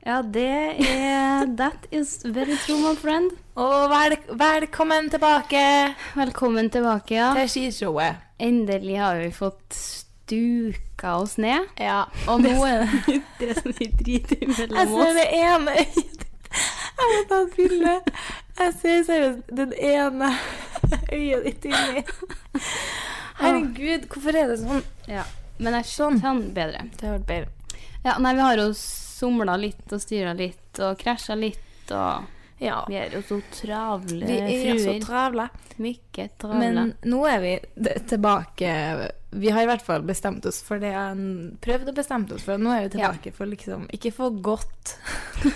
Ja, det er That is very true, my friend. Og vel, velkommen tilbake Velkommen tilbake, ja. til skishowet. Endelig har vi fått stuka oss ned. Ja. Og nå er det Det er så mye drit Jeg imellom ser oss. det ene øyet ditt. Jeg må ta et bilde. Jeg ser seriøst den ene øyet ditt inni. Herregud, hvorfor er det sånn? Ja. Men jeg kjenner bedre. Det har vært bedre. Ja, nei, vi har jo somla litt og styra litt og krasja litt og Ja. Vi er jo så travle Vi er så fruer. travle. Mye travle. Men nå er vi d- tilbake Vi har i hvert fall bestemt oss for det han prøvde å bestemme oss for. Nå er vi tilbake for liksom Ikke for godt.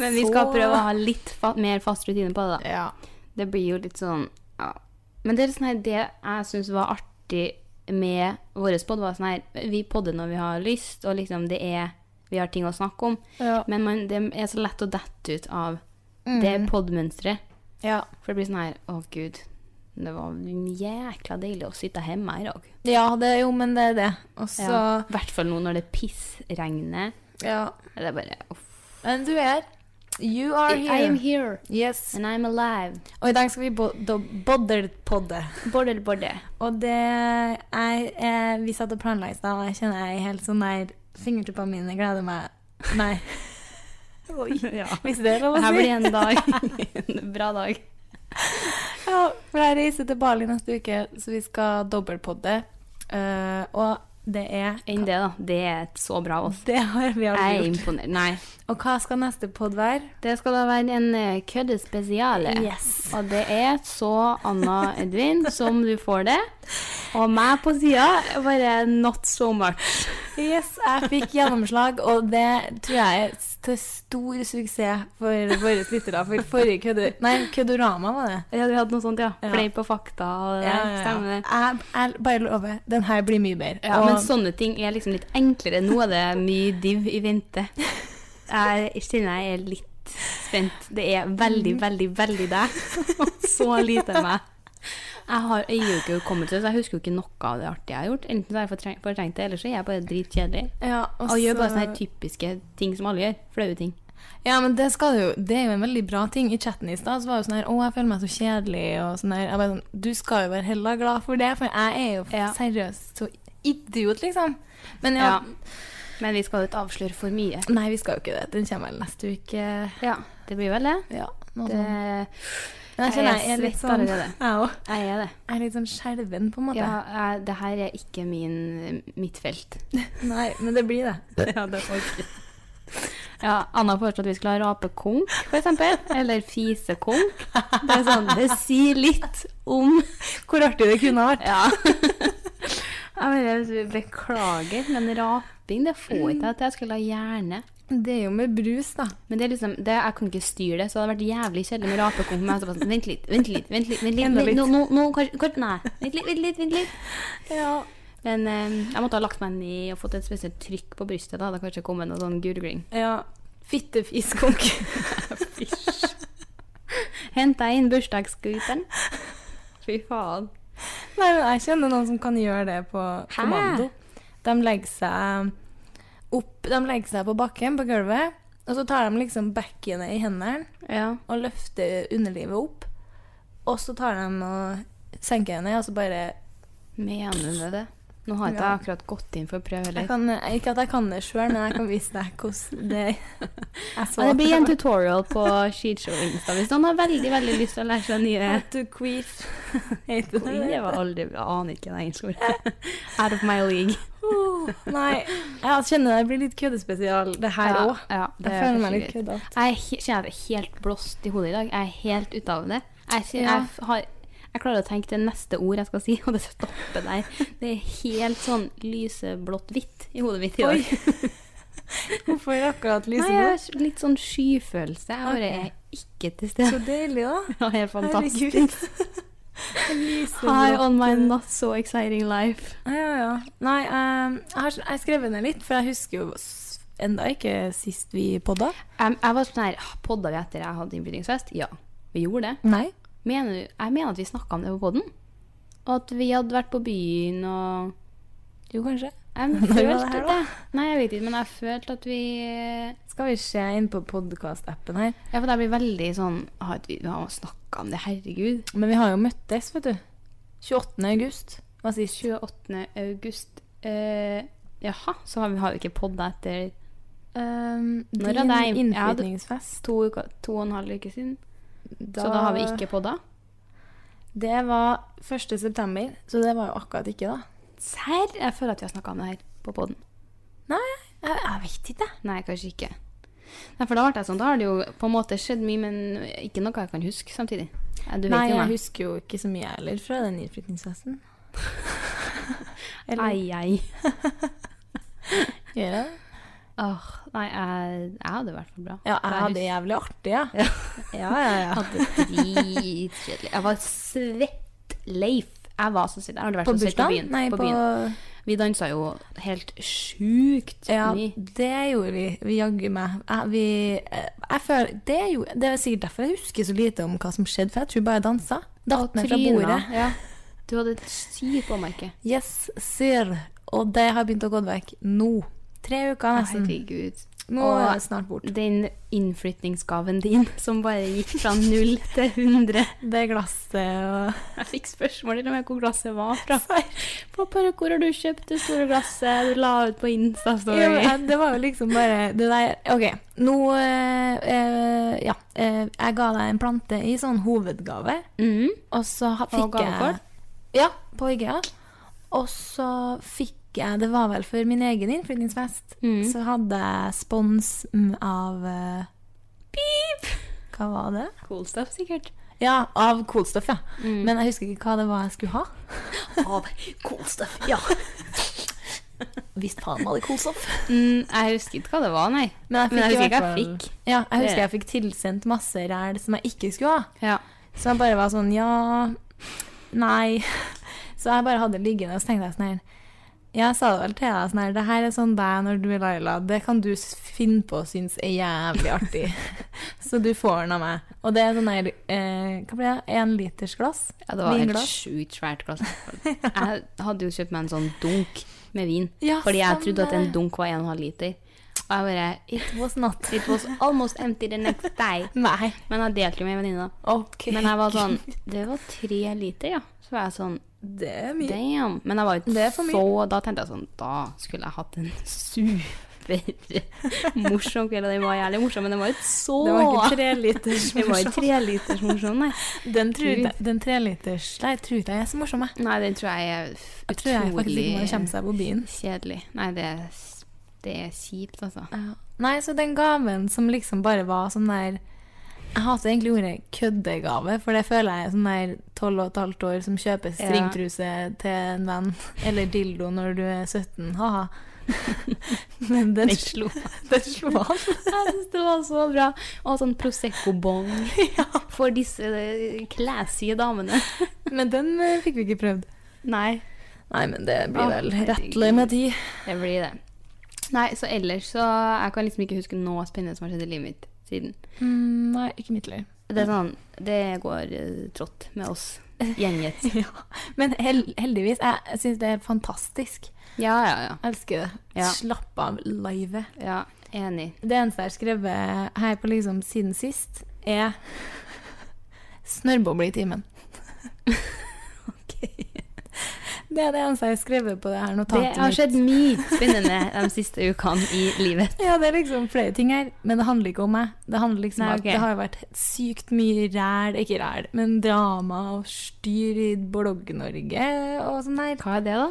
Men vi skal prøve å ha litt fa mer fast rutine på det, da. Ja. Det blir jo litt sånn ja. Men det, er sånn her, det jeg syns var artig med vår podd, var sånn her Vi podder når vi har lyst, og liksom det er Vi har ting å snakke om. Ja. Men man, det er så lett å dette ut av det podmønsteret. Ja. For det blir sånn her Å, gud. Det var jækla deilig å sitte hjemme i dag. ja, det er jo, men det er det. Og så Ja. ja. I hvert fall nå når det pissregner. Det er bare uff. Men du er You are I am here. here, Yes. and I'm alive. Og i dag skal vi bo- do- bodderpodde. Border, border. Og det jeg, eh, Vi satt og planla i stad, og jeg kjenner jeg er helt sånn der Fingertuppene mine gleder meg Nei. Oi. Hvis det er lov å si. Her blir en dag. en bra dag. Ja, for jeg reiser til Bali neste uke, så vi skal dobbeltpodde. Eh, og det er Enn det, da. Det er et så bra oss. Det har vi aldri Jeg er gjort. imponert. Nei. Og hva skal neste podd være? Det skal da være en eh, køddespesiale. Yes. Og det er så Anna Edvin som du får det. Og meg på sida, bare not so much. Yes, jeg fikk gjennomslag, og det tror jeg er til stor suksess for våre lyttere. For forrige kødde... Nei, Kødorama var det. Ja, du hadde noe sånt, ja. Ja. Fleip og fakta og det der. Stemmer det. Jeg, jeg bare lover, den her blir mye bedre. Ja, og, men sånne ting er liksom litt enklere. Nå er det mye div i vente. Jeg kjenner jeg er litt spent. Det er veldig, veldig, veldig deg. Og så lite meg. Jeg har jeg er jo ikke hukommelse, så jeg husker jo ikke noe av det artige jeg har gjort. Enten så har jeg fortreng- fortrengt det, eller så er jeg bare dritkjedelig. ja, og Og gjør bare så- sånne her typiske ting som alle gjør. Flaue ting. Ja, men det, skal du jo, det er jo en veldig bra ting. I chatten i stad så var det jo sånn her Å, jeg føler meg så kjedelig, og sånn her. Jeg bare sånn Du skal jo være heller glad for det, for jeg er jo Ja. seriøst så idiot, liksom. Men ja, Ja. Men vi skal jo ikke avsløre for mye. Nei, vi skal jo ikke det. Den kommer vel neste uke. Ja, det blir vel det. Ja. Noe det sånt. Men jeg kjenner er litt svett sånn- allerede. Jeg òg. jeg er det. Jeg er litt sånn skjelven, på en måte. Ja, jeg, det her er ikke min, mitt felt. Nei, men det blir det. Ja, det orker Ja, Anna foreslo at vi skulle ha rapekonk, for eksempel. Eller fisekonk. Det er sånn, det sier litt om Hvor artig det kunne vært. Ja. Jeg bare beklager, men raping, det får ikke jeg til. Jeg skulle ha hjerne. Det er jo med brus, da. Men det er liksom, det, jeg kan ikke styre det, så det hadde vært jævlig kjedelig med rapekom for meg. Så bare sånn, vent litt, vent litt, vent litt, vent litt, Enda vent litt. litt. Nå, nå, nå, kanskje, kanskje, nei, vent litt, vent litt, vent litt. Ja. Men eh, jeg måtte ha lagt meg ned og fått et spesielt trykk på brystet, da hadde det kanskje kommet noe sånn gurgling. ja. Fittefiskonk. Hent deg inn bursdagsskuteren. Fy faen. Nei, men jeg kjenner noen som kan gjøre det på kommando. De legger seg opp De legger seg på bakken, på gulvet, og så tar de liksom bekkenet i hendene Ja. og løfter underlivet opp. Og så tar de og senker det ned, og så bare Mener du det? Nå har ikke jeg akkurat gått inn for å prøve jeg heller. kan, Ikke at jeg kan det sjøl, men jeg kan vise deg hvordan det jeg så. Ja, det blir en tutorial på Sheetshow Insta hvis noen har veldig veldig lyst til å lære seg nye How to queef. Heter det Jeg det? var aldri, jeg aner ikke det engelske ordet. Out of my league. Åh, Nei, jeg kjenner det blir litt køddespesial, det her Ja, òg. ja, det jeg er føler kanskje meg litt greit. køddete. Jeg er he- kjenner jeg er helt blåst i hodet i dag. Jeg er helt ute av det. Jeg, kjenner, Ja. jeg, f- har, jeg klarer å tenke det neste ord jeg skal si, og det stopper der. Det er helt sånn lyseblått-hvitt i hodet mitt i Oi. dag. Hvorfor akkurat Nei, jeg lyseblå? har s- litt sånn skyfølelse. Jeg bare er ikke til Så stede. deilig, da. Det var helt fantastisk. Herregud. High Lyseblå. on my not so exciting life. Ja, ja, ja. Nei, eh, jeg har jeg har skrevet ned litt, for jeg husker jo s- enda ikke sist vi podda. Jeg, jeg var sånn her «Ah, Podda vi etter jeg hadde innbyttingsfest? Ja, vi gjorde det. Nei. Mener, du- jeg mener at vi snakka om det på poden. Og at vi hadde vært på byen og Jo, kanskje. Jeg var det følte her det, da? Nei, jeg vet ikke, men jeg følte at vi Ja, Skal vi se inn på podkast-appen her. for jeg blir veldig sånn «Ah, at Vi vi har snakka om det, herregud. Men vi har jo møttes, vet du. 28. august var sist. 28. august. Eh, jaha, så har vi har jo ikke podda etter Um, Når din er det? Jeg hadde- innflytningsfest. to, uker, to og en halv uke siden. Så da har vi ikke podda. Det var 1. september, så det var jo akkurat ikke, da. Serr? Jeg føler at vi har snakka om det her på poden. Nei, jeg, jeg vet ikke. Nei, kanskje ikke. Nei, for da ble jeg sånn, da har det jo på en måte skjedd mye, men ikke noe jeg kan huske samtidig. Ja, du vet Nei, jo meg. jeg husker jo ikke så mye jeg heller fra den innflytningsfesten. Eller Ai, ai. gjør jeg det? Åh, nei, jeg, jeg hadde det i hvert fall bra. Ja, For jeg hadde det jævlig artig, ja. Ja. ja, ja, Jeg ja. hadde det dritkjedelig. Jeg var svett Leif. Jeg var så svett. Jeg hadde vært På så svett på byen. bursdagen? Nei, på, byen. Vi dansa jo helt sjukt Ja, mye. det gjorde vi. Vi jaggu meg. Jeg, vi, eh, jeg føler, det, er jo, det er sikkert derfor jeg husker så lite om hva som skjedde, for jeg tror bare jeg dansa. Datt ned fra Tryna, bordet. Ja. Du hadde et sykt påmerke. Yes, sir. Og det har begynt å gå vekk nå. Tre uker nesten. Altså, Herregud. Nå Og- er det snart bort. Den innflytningsgaven din som bare gikk fra null til 100. Det glasset og Jeg fikk spørsmål til og med hvor glasset var fra. Pappa, hvor har du kjøpt det store glasset du la ut på Ja, men, Insta-story? eh, Det var jo liksom bare det der OK, nå eh, eh, Ja. eh, jeg ga deg en plante i sånn hovedgave, Mm. og så ha- fikk gavekort? jeg Ja, på IGA. Og så fikk jeg Det var vel for min egen innflyttingsfest. Mm. Så hadde jeg spons mm, av eh, Pip! Hva var det? Cool stuff, sikkert. Ja, av Coolstuff, ja. Mm. Men jeg husker ikke hva det var jeg skulle ha. Av cool stuff, ja. Visst faen var det Coolstuff. Mm, jeg husker ikke hva det var, nei. Men jeg i husker ikke hvert jeg fall- fikk. Ja, jeg Det- husker jeg fikk tilsendt masse ræl som jeg ikke skulle ha. Ja. Så jeg bare var sånn, ja, nei. Så jeg bare hadde det liggende og så tenkte jeg sånn her, jeg sa det vel til deg sånn her, det her er sånn deg når du er Laila, det kan du s- finne på og synes er jævlig artig. så du får den av meg. Og det er sånn her, eh, hva blir det, en liters glass? ja, det var helt Vinglass. sjukt svært glass. Jeg hadde jo kjøpt meg en sånn dunk med vin, Ja, fordi jeg stemmer. trodde at en dunk var 1,5 liter. Og jeg bare It was not. It was almost empty the next day. Nei, Men jeg delte jo med en venninne. da. ok. Men jeg var sånn Det var tre liter, ja. Så var jeg sånn det er mye. Damn. Men jeg var jo Det er for mye. så Da tenkte jeg sånn Da skulle jeg hatt en super morsom kveld. Og den var jævlig morsom, men den var jo så Det var ikke tre liters Den var jo tre liters morsom, nei. Den, tror Gud. jeg- den tre liters, nei, tror ikke jeg er så morsom, jeg. Nei, den tror jeg er f- Jeg tror jeg faktisk ikke må utrolig kjempe seg på byen. kjedelig. Nei, det er, s- det er kjipt, altså. Ja. Nei, så den gaven som liksom bare var sånn der Jeg hater egentlig ordet køddegave, for det føler jeg er sånn der tolv og et halvt år som kjøper Ja. stringtruse til en venn, eller dildo når du er 17, ha-ha. Men den, Den slo. den slo an. Jeg syns det var så bra. Og sånn Prosecco-bong for disse eh, classy damene. Men den eh, fikk vi ikke prøvd. Nei, Nei, Ah, men det blir vel rettelig med de. det blir det. Nei, så ellers så Jeg kan liksom ikke huske noe spennende som har skjedd i livet mitt siden. Mm, nei, ikke mitt liv. Det er sånn Det går eh, trått med oss. Gjengitt. Ja. Men hel heldigvis, jeg syns det er fantastisk. Ja, ja, ja. Jeg elsker det. Ja. Slapp av livet. ja enig. Det eneste jeg har skrevet her på liksom siden sist, er snørrboble i timen. Det er det eneste jeg har skrevet på det her Det notatet. har mitt. skjedd mye spennende de siste ukene i livet. Ja, det er liksom flere ting her, men det handler ikke om meg. Det handler liksom Nei, om ok. at det har vært sykt mye ræl, ikke ræl, men drama og styr i Blogg-Norge og sånn der. Hva er det, da?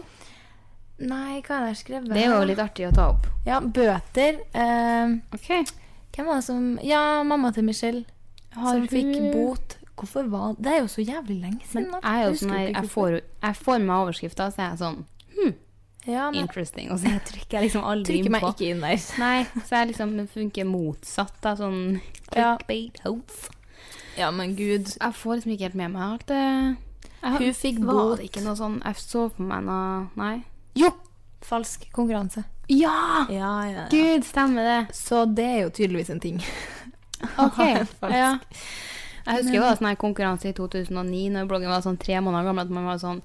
Nei, hva er det jeg har skrevet? Det er jo litt artig å ta opp. Ja, bøter. Eh, Ok. hvem var det som Ja, mamma til Michelle. som hun- fikk bot. Hvorfor var Det er jo så jævlig lenge Men siden. nå. jeg er jo husker sånn her, ikke jeg hvorfor. får, jeg får meg overskrifta, så jeg er sånn ja, men, interesting. Og så jeg trykker jeg liksom aldri Trykker inn meg på. ikke inn der. Nei, så jeg liksom det funker motsatt. Da, sånn Ja. clickbait hopes. Ja, men gud. Jeg får liksom ikke helt med meg alt det. Jeg, Hun fikk Var bot. det ikke noe sånn Jeg så for meg noe Nei. Jo! Falsk konkurranse. Ja! Ja, ja, ja. Gud, stemmer det. Så det er jo tydeligvis en ting. OK. Falsk. ja. Jeg husker det var sånn her konkurranse i 2009 når bloggen var sånn tre måneder gammel, at man var sånn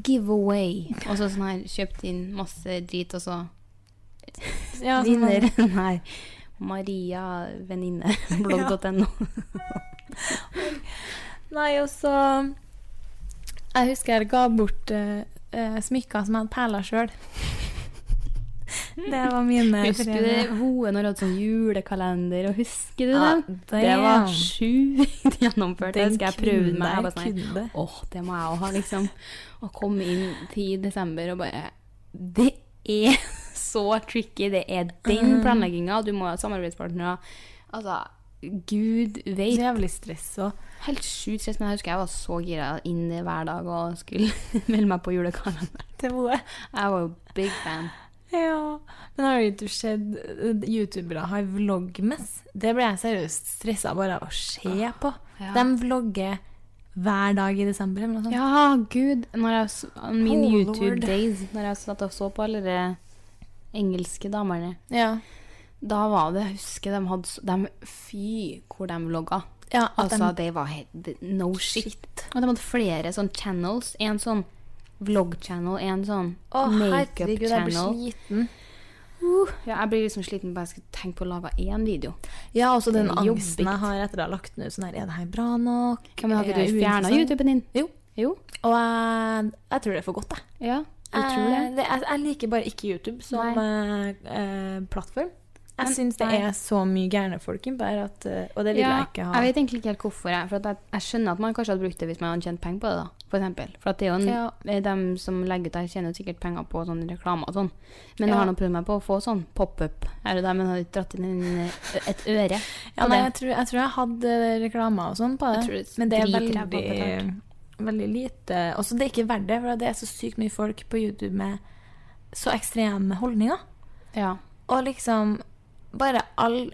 giveaway. Og så sånn her kjøpt inn masse drit, og så Ja, sånn var det. vinner den her mariavenninneblogg.no. Nei, og så Jeg husker jeg ga bort eh, eh, smykker som jeg hadde perler sjøl. det var mine Husker premie. du Hoe når du hadde sånn julekalender, og husker du Ja, den? Det var sjukt gjennomført. Den Jeg husker jeg prøvde meg. Jeg kunne bare sånn, jeg kunne. Åh, det må jeg òg ha, liksom. Å komme inn 10. desember og bare Det er så tricky. Det er Mm. den planlegginga. Du må ha samarbeidspartnere. Altså, gud Så veit. Jævlig stress og Helt sjukt stress, men jeg husker jeg var så gira inn hver dag og skulle melde meg på julekalender. Det var det. Jeg var jo big fan. Ja. Men har du ikke sett eh, youtubere har vloggmess? Det ble jeg seriøst stressa bare av å se på. Ah, Ja. De vlogger hver dag i desember eller noe sånt. Ja, gud. Når jeg, s- min Oh, YouTube Lord. days, når jeg satt og så på alle de engelske damene, Ja. da var det, jeg husker de hadde s- de, Fy, hvor de vlogga. Ja, at Altså, de, det var helt no shit. Og de hadde flere sånn channels. En sånn vlog-channel, en sånn å, herregud, jeg blir makeup-channel. sliten. Ja, jeg blir liksom sliten bare jeg skal tenke på å lage én video. Ja, også den Det er angsten jeg jobbigt. har etter å ha lagt den ut. Sånn her, er det her bra nok? Ja, men har Er ikke jeg du fjerna uinteressant? YouTuben din? Jo. Jo? Og jeg, jeg tror det er for godt, jeg. Ja, du tror det? Eh, jeg, jeg liker bare ikke YouTube som eh, eh, plattform. Jeg Men- syns det nei. er så mye gærne folk innpå her, at, eh, og det vil jeg ikke ha. jeg vet egentlig ikke helt hvorfor. Jeg, for at jeg, jeg skjønner at man kanskje hadde brukt det hvis man hadde tjent penger på det. da, For, eksempel. for at det er jo en, Ja. eh, dem som legger ut der, tjener jo sikkert penger på sånn reklame og sånn. Men jeg Ja. har nå prøvd meg på å få sånn pop-up. Er det der, men har ikke dratt inn en, eh, et øre. ja, på nei, det. jeg, tror, jeg tror jeg hadde reklamer og sånn på Jeg det, tror det er men det er dritræva veldig, veldig lite. Også det er ikke verdt det, for det er så sykt mye folk på YouTube med så ekstreme holdninger. Ja. Og liksom bare all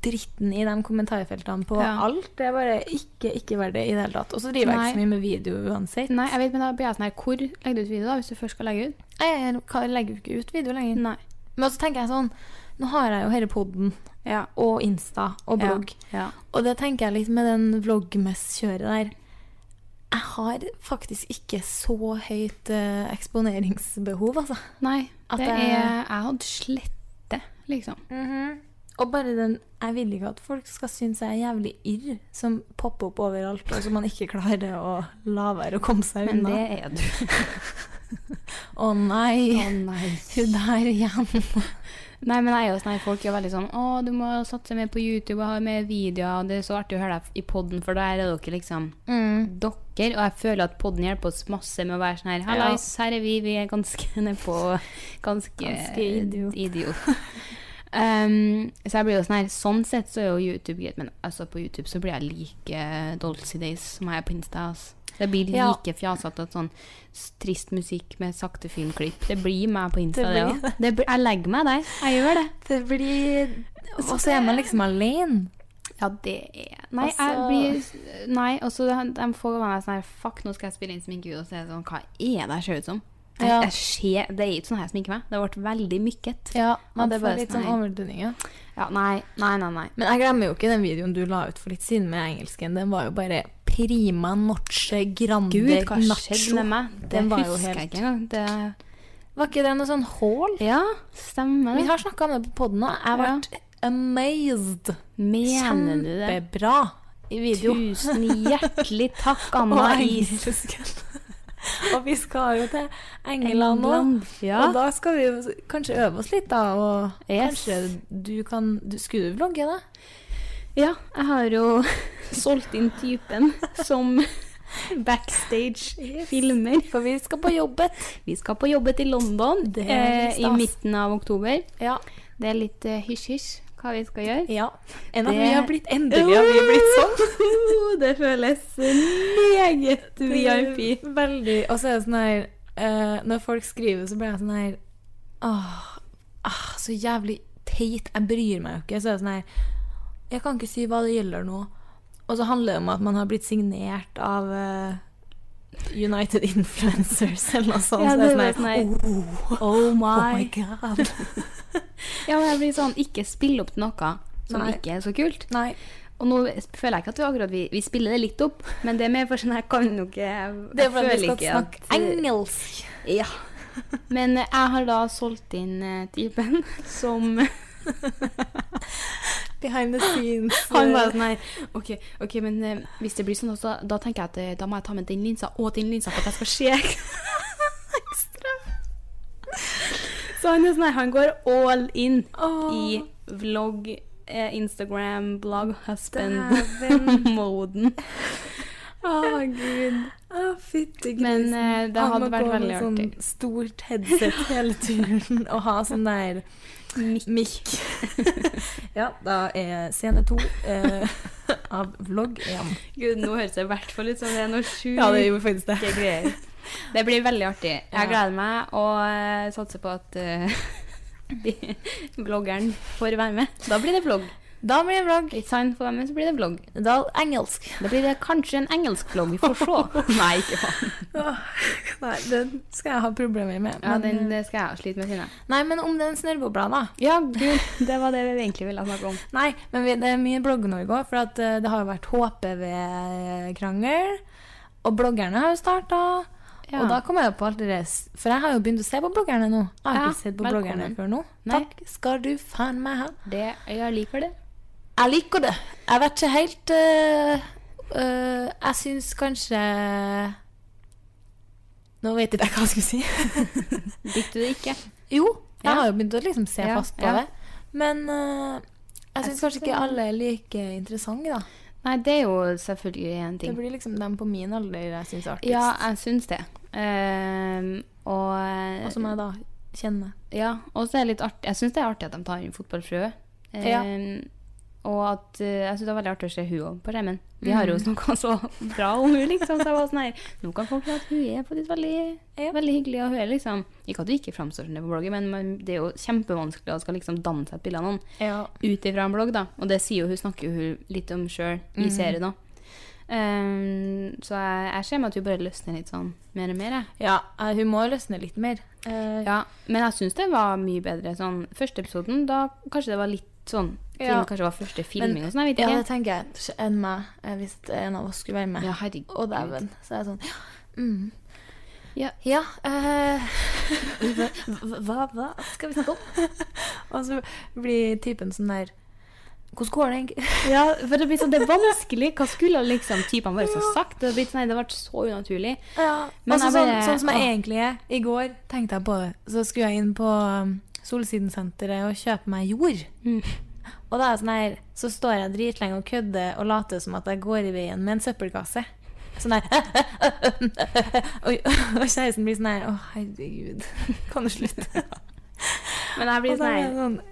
dritten i de kommentarfeltene på Ja. alt. Det er bare ikke, ikke verdt det i det hele tatt. Og så driver jeg ikke så Nei. mye med video uansett. Nei, jeg vet, men da blir jeg sånn her Hvor legger du ut video, da, hvis du først skal legge ut? Jeg kan- legger jo ikke ut video lenger. Nei. Men så tenker jeg sånn Nå har jeg jo hele podden Ja. og Insta og blogg. Ja. Og det tenker jeg litt med den vloggmess-kjøret der. Jeg har faktisk ikke så høyt eh, eksponeringsbehov, altså. Nei, At det jeg- er Jeg hadde slette, liksom. Og bare den Jeg vil ikke at folk skal synes jeg er jævlig irr, som popper opp overalt, og som man ikke klarer å la være å komme seg Men det unna. er du. Å nei, nei. hun der igjen. Nei, men jeg er jo sånn her, folk er jo veldig sånn Å, du må satse mer på YouTube og ha mer videoer. og Det er så artig å høre deg i podden, for der er dere liksom dere. Og jeg føler at podden hjelper oss masse med å være sånn her Hallais, her er vi. Vi er ganske nedpå. Ganske, Ganske idiot. idiot. Um, så jeg blir jo sånn her Sånn eh, sett så er jo YouTube greit, men altså på YouTube så blir jeg like Dolcy Days som jeg er på Insta. Altså. Det blir Ja. like fjasete at sånn s- trist musikk med sakte filmklipp. Det blir meg på Insta, Det det blir- òg. Jeg legger meg der. Jeg gjør det. Det blir Og så er man liksom alene. Ja, det er Nei, Altså- jeg blir Nei, og så de- de får meg sånn her Fuck, nå skal jeg spille inn sminkevideo, og så er det sånn Hva er det jeg ser ut som? Jeg, Ja. jeg ser, det er ikke sånn her jeg sminker meg. Det ble veldig mykket. Ja, man man får får litt litt sånn sånn overdønninger. Ja, nei, nei, nei. nei. Men jeg glemmer jo ikke den videoen du la ut for litt siden med engelsken. Den var jo bare prima noche grande Gud, hva skjedde nacho. med meg? Det Den var jo husker jeg helt- ikke engang. Det, Var ikke det noe sånn hall? ja, stemmer Vi det. har snakka om det på poden òg. Jeg Ja. ble amazed. Mener du det? Kjempebra i video. Tusen hjertelig takk, Anna Og Is. engelsken. og vi skal jo til England nå. Ja. Og da skal vi jo kanskje øve oss litt, da. Og Yes. kanskje du kan du, Skulle du vlogge det? ja, jeg har jo solgt inn typen som backstage-filmer. For vi skal på jobbet. Vi skal på jobbet i London Det eh, er i stas. midten av oktober. Ja. Det er litt eh, hysj-hysj hva vi skal gjøre. ja. Enn at Det- Uh! vi har blitt Endelig har vi blitt sånn. Det føles meget Det er Veldig. Og så er det sånn her eh, Når folk skriver, så blir jeg sånn her Åh, ah, så jævlig teit. Jeg bryr meg jo ikke. Så er det sånn her Jeg kan ikke si hva det gjelder nå. Og så handler det om at man har blitt signert av eh, United Influencers eller noe sånt. Ja, så det det var er sånn her, oh, Oh oh my. my god. Ja, men jeg blir sånn Ikke spill opp til noe som Nei. ikke er så kult. Nei. Og nå føler jeg ikke at vi akkurat vi, vi spiller det litt opp, men det er mer for sånn Jeg kan jo ikke Jeg, Det er jeg fordi vi føler skal ikke snakke at engelsk. Ja. Men eh, jeg har da solgt inn eh, typen som Behind the scenes. Han bare sånn her OK, ok, men eh, hvis det blir sånn, også, da tenker jeg at eh, da må jeg ta med den linsa og den linsa for at jeg skal se ekstra. Så han er sånn her, han går all in sånn, i vlogg, eh, Instagram, blogg, husband-moden. Å, gud. Å, fytti Men eh, det hadde vært veldig artig. sånn stort headset hele turen og ha sånn der mikk. ja, da er scene to eh, av vlogg én. Gud, nå høres det i hvert fall ut som det er noe sjukt. gjorde faktisk Det er greier. Det blir veldig artig. Ja. Jeg gleder meg og eh, satser på at eh, de- vloggeren får være med. Da blir det vlogg. Da blir det vlogg. Hvis han får være med, så blir det vlogg. Da engelsk. Da blir det kanskje en engelsk vlogg. Vi får se. Nei, ikke faen. Nei, den skal jeg ha problemer med. Ja, men, eh, den det skal jeg slite med, Tine. Nei, men om den snørrbobla, da. Ja, gud, det var det vi egentlig ville snakke om. Nei, men vi, det er mye Blogg-Norge òg, for at eh, det har jo vært HPV-krangel. Og bloggerne har jo starta. Ja. Og da kom jeg jo på alt det der s- For jeg har jo begynt å se på bloggerne nå. Jeg har Ja, ikke sett på velkommen. bloggerne før nå. Nei. Takk skal du faen meg ha. Det, jeg liker det. Jeg liker det. Jeg vet ikke helt eh, eh, Jeg syns kanskje Nå vet jeg ikke hva jeg skulle si. Likte du det ikke? Jo, jeg Ja. har jo begynt å liksom se Ja, fast på ja. det. Men eh, jeg syns kanskje ikke alle er like interessante, da. Nei, det er jo selvfølgelig en ting. Det blir liksom dem på min alder jeg syns er artigst. Ja, jeg syns det. Ehm, og eh, Og som jeg da kjenner. Ja, og så er det litt artig. Jeg syns det er artig at de tar inn fotballfrue. Eh, Ja. Og at eh, jeg syns det er veldig artig å se hun også på skjermen. Vi har jo snakka så bra om hun, liksom. Så jeg var sånn her Nå kan folk si at hun er faktisk veldig, veldig hyggelig, og hun er liksom Ikke at hun ikke framstår som det på bloggen, men man, det er jo kjempevanskelig å skal liksom danne seg et bilde av noen Ja. ut ifra en blogg, da. Og det sier jo hun snakker jo hun litt om sjøl i serien òg. Ehm, så jeg, jeg ser meg at hun bare løsner litt sånn mer og mer, jeg. eh, hun må løsne litt mer. Eh, Ja, men jeg syns det var mye bedre sånn Første episoden, da kanskje det var litt sånn Siden Ja. det kanskje var første filming og sånn, jeg vet ja, ikke. det tenker jeg. Ikke Enn meg, eh, hvis en av oss skulle være med. Ja, herregud. Og dæven. Så er jeg sånn Ja. Mm. Ja. ja eh, hva, hva, hva skal vi snakke om? og så blir typen sånn der Hvordan går det egentlig? Ja, for det blir sånn, det er vanskelig. Hva skulle liksom typene våre ha sagt? Det ble, nei, det ble så unaturlig. Ja, Men altså, jeg sånn, bare- sånn som jeg åh. egentlig er. I går tenkte jeg på det. Så skulle jeg inn på um, Solsidensenteret og kjøpe meg jord. Mm. Og da er jeg sånn her, så står jeg dritlenge og kødder og later som at jeg går i veien med en søppelkasse. Sånn her og, og kjæresten blir sånn her Å, herregud, kan du slutte? Men jeg blir Og da sånn, er jeg her, sånn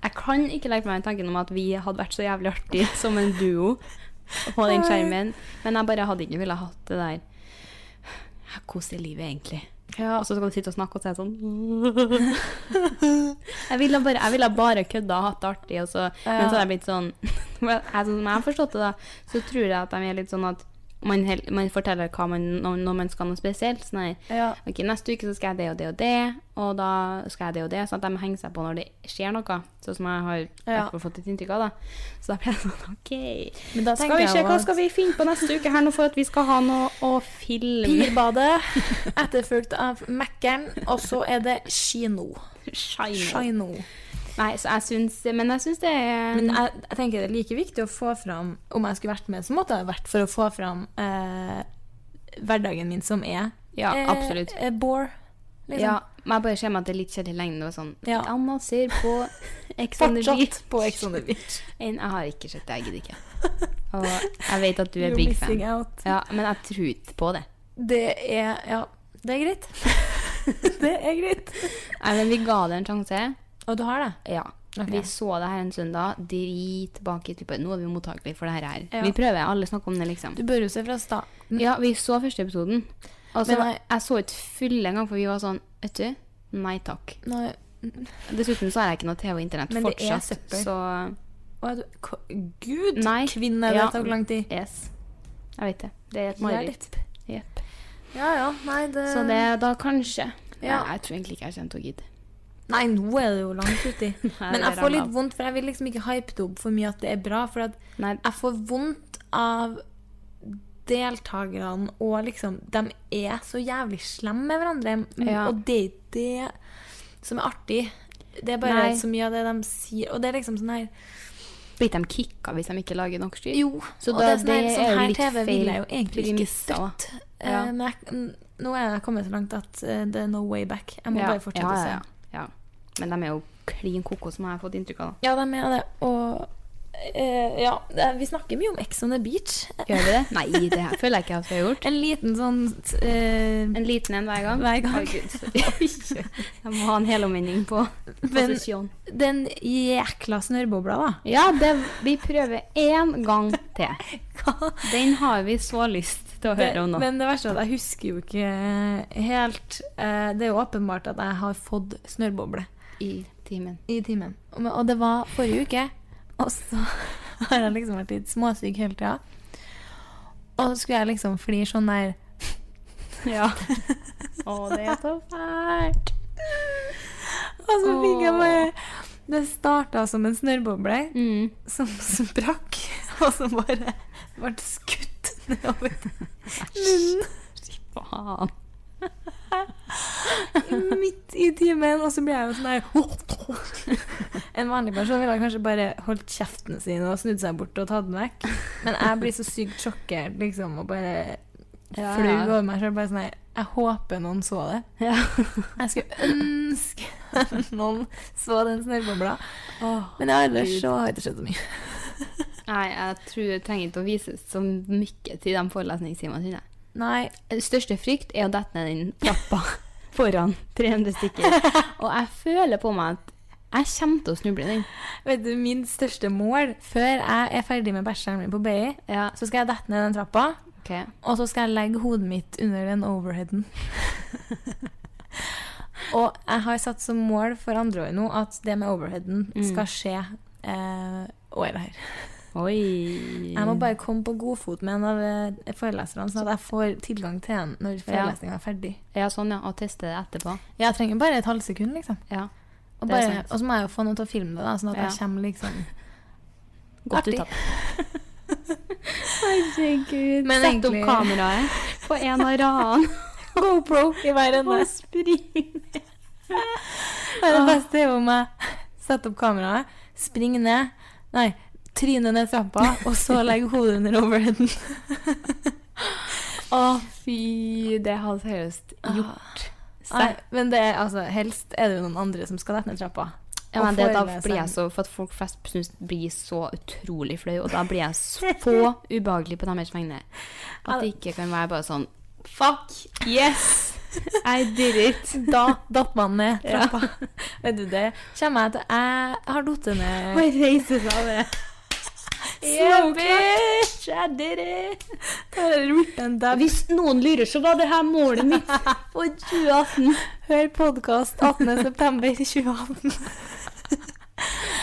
jeg kan ikke legge meg i tanken om at vi hadde vært så jævlig artig som en duo på den skjermen. Men jeg bare hadde ikke villet hatt det der Hvordan er livet egentlig? Og så skal du sitte og snakke og si sånn Jeg ville bare, jeg ville bare kødda og hatt det artig. Og så, Men så har jeg blitt sånn jeg, Sånn som jeg har forstått det, da, så tror jeg at de er litt sånn at man, hel, man forteller hva man, når, når man skal noe spesielt. Sånn her, Ja. ok, Neste uke så skal jeg det og det og det, og da skal jeg det og det. Sånn at de henger seg på når det skjer noe. Sånn som jeg har Ja. hvertfall fått et inntrykk av. da. Så da ble jeg sånn OK. Men da Skal tenker vi jeg se jo hva at- skal vi finne på neste uke her nå for at vi skal ha noe å filme? Pirbadet, etterfulgt av Mækkern, og så er det kino. Shine. Shino. Nei, så jeg syns Men jeg syns det er Men jeg, jeg tenker det er like viktig å få fram Om jeg skulle vært med, så måtte jeg ha vært for å få fram eh, hverdagen min, som er Ja, eh, absolutt. Eh, bore. Liksom. Ja, men jeg bare ser meg at det er litt kjedelig lenge nå. Sånn. Ja. Anna ser på Ex on the Beach. Fortsatt sånn på Ex on the Beach. En, jeg har ikke sett det, jeg gidder ikke. Og jeg vet at du er You're big fan. missing out. Ja, men jeg tror ikke på det. Det er Ja, det er greit. det er greit. Nei, men vi ga det en sjanse. Og du har det? Ja. Ok. Vi så det her en søndag. Dritbaket. Vi bare, Nå er vi mottakelige for det her. her. Ja. Vi prøver. Alle snakker om det, liksom. Du bør jo se fra starten. Ja, vi så første episoden. Og så Men var- jeg- jeg så ikke fulle engang, for vi var sånn Vet du, nei takk. Nå- Dessuten så har jeg ikke noe TV og internett Men det er fortsatt. søppel. Så Å, er du, ko- Gud, Nei. kvinne, Ja. det tok lang tid. yes. Jeg vet det. Det er et mareritt. Jepp. Ja ja, nei, det Så det er da kanskje. Ja. Nei, jeg tror egentlig ikke jeg kommer til å gidde. Nei, nå er det jo langt uti. Nei, Men det jeg er får litt rammet. vondt, for jeg vil liksom ikke hype det opp for mye at det er bra. For at Nei. jeg får vondt av deltakerne, og liksom De er så jævlig slemme med hverandre. m- Ja. Og det er ikke det som er artig. Det er bare Nei. så mye av det de sier. Og det er liksom sånn her Blir de kicka hvis de ikke lager nok styr? Jo, Så og da- det er sånn her, det sånn er jo her litt TV feil vil jeg jo egentlig ikke premisser, da. støtte. Ja. Eh, Men jeg, n- nå er jeg kommet så langt at eh, det er no way back. Jeg må Ja, bare fortsette ja, å se. ja, ja. Men de er jo klin koko, som jeg har fått inntrykk av. da. Ja, de er det. Og eh, ja, det- vi snakker mye om Ex on the Beach. Gjør vi det? Nei, det her føler jeg ikke at vi har gjort. En liten sånn eh, En liten en hver gang? Hver gang. Herregud, sorry. jeg må ha en helomvending på Men- posisjon. Den jækla snørrbobla, da. Ja, det, vi prøver én gang til. Hva? Den har vi så lyst til å høre om nå. Men det verste er at jeg husker jo ikke helt eh, Det er jo åpenbart at jeg har fått snørrboble I timen. i timen. Og, men- og det var forrige uke, og så har jeg liksom vært litt småsyk hele tida. Og så skulle jeg liksom flire sånn der Ja. Å, det er så fælt. Og så fikk jeg Åh. bare Det starta som en snørrboble. Mm. som sprakk, og som bare ble skutt nedover munnen Faen. midt i timen. Og så ble jeg jo sånn her En vanlig person ville kanskje bare holdt kjeften sin og snudd seg bort og tatt den vekk. Men jeg blir så sykt sjokkert, liksom, og bare Ja, fløy ja. over meg sjøl. Bare sånn her Jeg håper noen så det. Ja. Jeg skulle ønske noen så den snørrbobla. Åh. Men ellers så har det ikke skjedd så mye. Nei, jeg tror jeg trenger ikke å vise så mye til de forelesningstimene sine. Nei. Største frykt er å dette ned den trappa foran 300 stykker. Og jeg føler på meg at jeg kommer til å snuble i den. Vet du, Min største mål før jeg er ferdig med bæsjeren min på BI, Ja. så skal jeg dette ned den trappa, Ok. og så skal jeg legge hodet mitt under den overheaden. og jeg har satt som mål for andre år nå at det med overheaden skal skje eh, året her. Oi. Jeg må bare komme på godfot med en av eh, foreleserne, sånn at jeg får tilgang til den når forelesninga er ferdig. Ja, sånn, ja. Og teste det etterpå. Jeg trenger bare et halvt sekund, liksom. Ja. Og, Det er bare, sant. og så må jeg jo få noen til å filme det, da, sånn at jeg Ja. kommer liksom Godt Artig. uttatt. Herregud. Men Sett egentlig- opp kameraet på en av radene GoPro i hver og spring. Det er det beste er jo om jeg setter opp kameraet, springer ned, nei, tryner ned trappa, og så legger hodet under overheaden. Å, fy. Det hadde seriøst gjort Nei, men det er, altså, helst er det jo noen andre som skal dette ned trappa. Ja, men Og det, da foreleseren- blir jeg så For at folk flest syns det blir så utrolig flau, og da blir jeg så ubehagelig på deres vegne at det ikke kan være bare sånn Fuck! Yes! I did it! Da datt man ned Ja. trappa. Vet du det? Kommer jeg til Jeg har datt ned Bare reise seg av det. Slow bitch! I did it! En dab. Hvis noen lurer, så var det her målet mitt for 2018. Hør podkast 18.9.2018.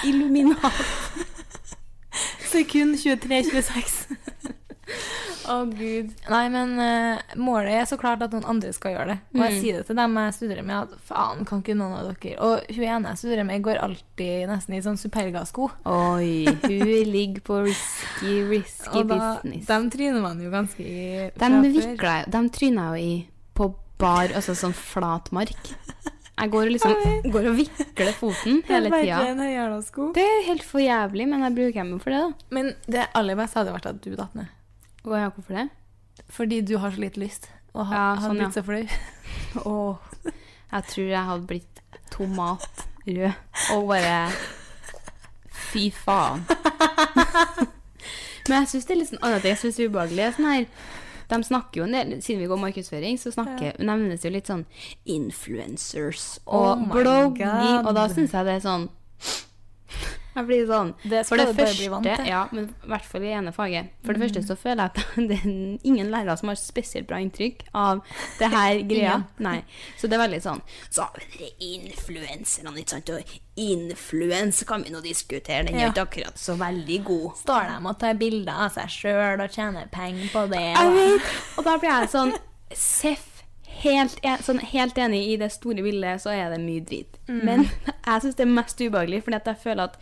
Illuminat. Sekund 23.26. Å, gud. Nei, men eh, målet er så klart at noen andre skal gjøre det. Og jeg sier det til dem jeg studerer med, at faen, kan ikke noen av dere Og hun ene jeg studerer med, går alltid nesten i sånn Superga-sko. Oi, hun ligger på risky, risky Og da, business. dem tryner man jo ganske i fra De før. vikla jo De tryna jo i på bar, altså sånn flat mark. Jeg går og liksom går og vikler foten Det er hele bare tida. en høyhæla sko. Det er helt for jævlig, men jeg bruker hjemmet for det, da. Men det aller beste hadde vært at du datt ned. Og jeg har hvorfor det. Fordi du har så lite lyst. Og har, Ja, har sånn, blitt ja. så flau. Åh, jeg tror jeg hadde blitt tomatrød og bare Fy faen. Men jeg syns det er litt sånn annet jeg syns er ubehagelig. er Sånn her, de snakker jo en del, Siden vi går markedsføring, så snakker, nevnes det jo litt sånn influencers Oh og my blogging, God. og da syns jeg det er sånn Jeg blir sånn Det For skal det du bare bli vant første, til. ja, men i hvert fall i ene faget. For det første så føler jeg at det er ingen lærere som har spesielt bra inntrykk av det her greia. Nei. Så det er veldig sånn Så har vi dere influenserne, ikke sant. Og influens kan vi nå diskutere. Den er Ja. jo ikke akkurat så veldig god. Står de og tar bilder av seg sjøl og tjener penger på det? Jeg vet. Og da blir jeg sånn Seff. Helt, en, sånn, helt enig, i det store bildet så er det mye drit. Mm. Men jeg syns det er mest ubehagelig, fordi at jeg føler at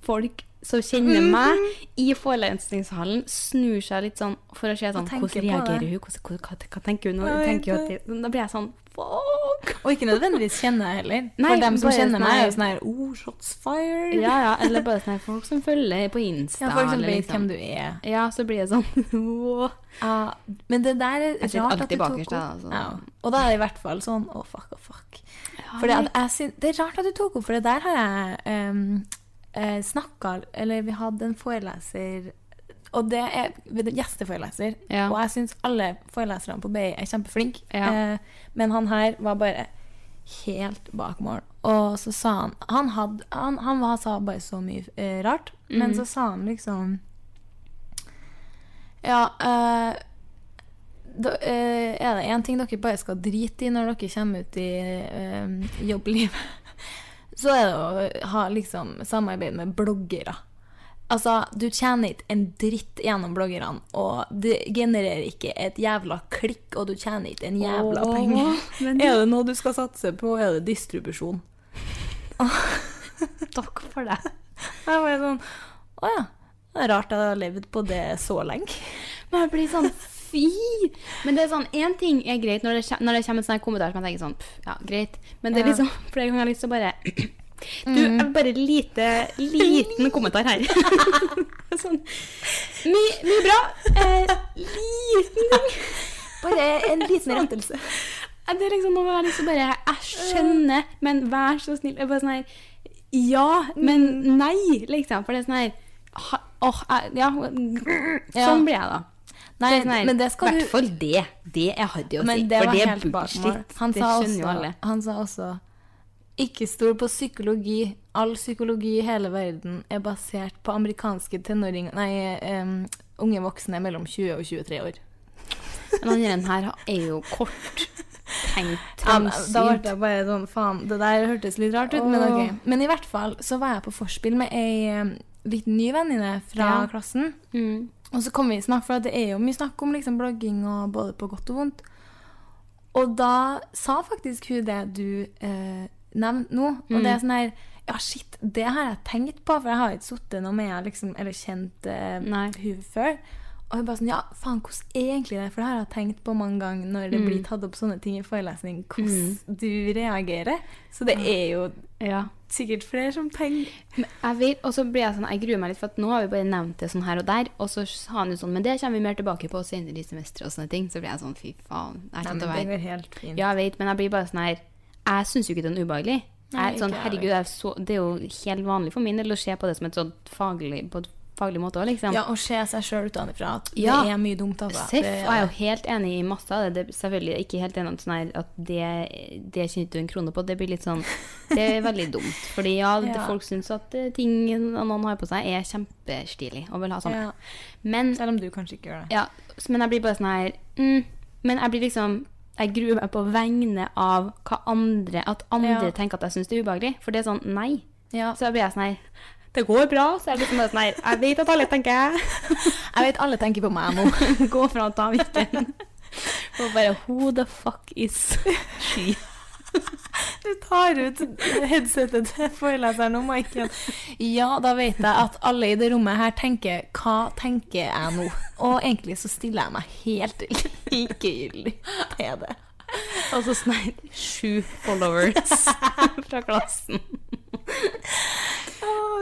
folk som kjenner Mhm. meg i forelesningshallen, snur seg litt sånn for å se sånn, tenker hvordan på reagerer det. hun, hvordan, hvordan, hva, hva tenker hun? nå? Jeg vet Tenker hun at det, da blir jeg sånn Fuck! Og ikke nødvendigvis kjenner jeg heller. Nei, For dem som bare kjenner meg, er jo sånn sånn her oh, shots fired. Ja, ja, eller bare sånn her folk som følger på Insta. Ja, folk som eller vet liksom. hvem du er. Ja, så blir jeg sånn wow. Ja, men det der er sitter rart at du alltid tok bakerst, opp. da, altså. Ja. Og da er det i hvert fall sånn å, fuck, å, fuck. Fordi at jeg syn- det er rart at du tok opp, for det der har jeg um, snakka Eller vi hadde en foreleser og det er ved en gjesteforeleser. Ja. Og jeg syns alle foreleserne på BI er kjempeflinke. Ja. Eh, men han her var bare helt bak mål. Og så sa han Han, hadde, han, han var, sa bare så mye eh, rart, Mhm. men så sa han liksom ja, eh, da, eh, er det én ting dere bare skal drite i når dere kommer ut i eh, jobblivet, så er det å ha liksom, samarbeid med bloggere. Altså, du tjener ikke en dritt gjennom bloggerne, og det genererer ikke et jævla klikk, og du tjener ikke en jævla Åh, penge. men- Er det noe du skal satse på, er det distribusjon. Takk for det. Jeg var sånn, å ja, det er rart jeg har levd på det så lenge. Men jeg blir sånn fy! Men det er sånn, én ting er greit når det, kje- når det kommer en sånn her kommentar som jeg tenker sånn pff, Ja, greit. Men det er Ja. Mm. liksom flere ganger har jeg lyst til å bare Du, jeg vil bare lite, liten kommentar her. sånn Mye mye bra. Eh, liten ting. Bare en liten rettelse. Øh. Ja, Det er liksom noe jeg har lyst til å bare Jeg skjønner, men vær så snill. Jeg er bare sånn her Ja, men Mm. nei, liksom. For det er sånn her ha- Åh, jeg- ja. Sånn blir jeg, da. Nei, Det er sånn her, men det skal hvert du fall det. Det er harry å si. Men det for var det er helt bakmål. bullshit. Han det sa, skjønner jo også, alle. han sa også ikke stol på psykologi. All psykologi i hele verden er basert på amerikanske tenåringer Nei, em, unge voksne mellom 20 og 23 år. Men han ene her er jo kort. Tenkt Ja, men da ble trangsynt. jeg bare sånn Faen, det der hørtes litt rart ut, men ok. Men i hvert fall så var jeg på vorspiel med ei em, litt ny venninne fra Ja. klassen. Mm. Og så kom vi i snakk, for at det er jo mye snakk om liksom blogging og både på godt og vondt. Og da sa faktisk hun det du eh, nevnte nå. Og det er sånn her Ja, shit, det har jeg tenkt på, for jeg har ikke sittet noe med henne liksom, eller kjent eh, Nei. hun før. Og hun bare sånn Ja, faen, hvordan er egentlig det? For det har jeg tenkt på mange ganger når det blir tatt opp sånne ting i forelesning, hvordan du reagerer. Så det er jo Ja. sikkert flere som tenker Men jeg vet, og så blir jeg sånn, jeg gruer meg litt, for at nå har vi bare nevnt det sånn her og der, og så sa han jo sånn, men det kommer vi mer tilbake på senere i semesteret og sånne ting, så blir jeg sånn, fy faen, jeg Nei, kommer til men å det være går helt fint. Ja, jeg vet, men jeg blir bare sånn her Jeg syns jo ikke det er ubehagelig. Jeg, Nei, er sånn, ikke jeg herregud, jeg er så, Det er jo helt vanlig for min del å se på det som et sånt faglig, på et faglig måte òg, liksom. Ja, å se seg sjøl utenfra. At Ja. det er mye dumt av Seff, og jeg er jo helt enig i masse av det. det er selvfølgelig ikke helt enig om sånn her at det, det tjente du en krone på. Det blir litt sånn Det er veldig dumt. Fordi ja, det- Ja. folk syns at eh, ting noen har på seg, er kjempestilig og vil ha samme. Ja. Men, Selv om du kanskje ikke gjør det. ja, s- men jeg blir bare sånn her mm, Men jeg blir liksom jeg gruer meg på vegne av hva andre, at andre Ja. tenker at jeg syns det er ubehagelig. For det er sånn, nei. Ja. Så jeg blir jeg sånn her Det går bra. Så jeg blir liksom bare sånn her Jeg vet at alle tenker Jeg vet alle tenker på meg nå. Gå fra og ta mikken. Og bare Who the fuck is she? Du tar ut headsetet til foreleseren og Michael. Ja, da vet jeg at alle i det rommet her tenker 'hva tenker jeg nå?' Og egentlig så stiller jeg meg helt likegyldig til det. Og så snei sju followers fra klassen.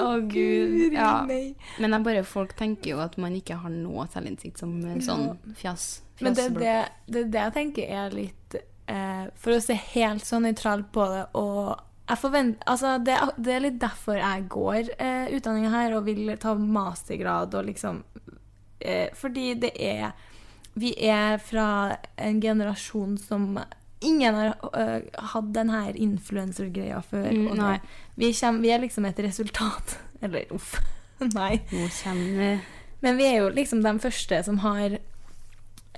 Å, gud, ja. nei. Men jeg bare, folk tenker jo at man ikke har noe selvinnsikt som eh, sånn fjas. Men det er fjaseblogg. det, det, er det jeg tenker er litt eh, For å se helt så nøytralt på det og jeg forvent, altså det, er- det er litt derfor jeg går eh, utdanninga her og vil ta mastergrad og liksom eh, Fordi det er Vi er fra en generasjon som Ingen har eh, hatt den her influencer-greia før. Mm, og det- nei. vi, kjem, vi er liksom et resultat. Eller uff. Nei. Nå kjenner Men vi er jo liksom de første som har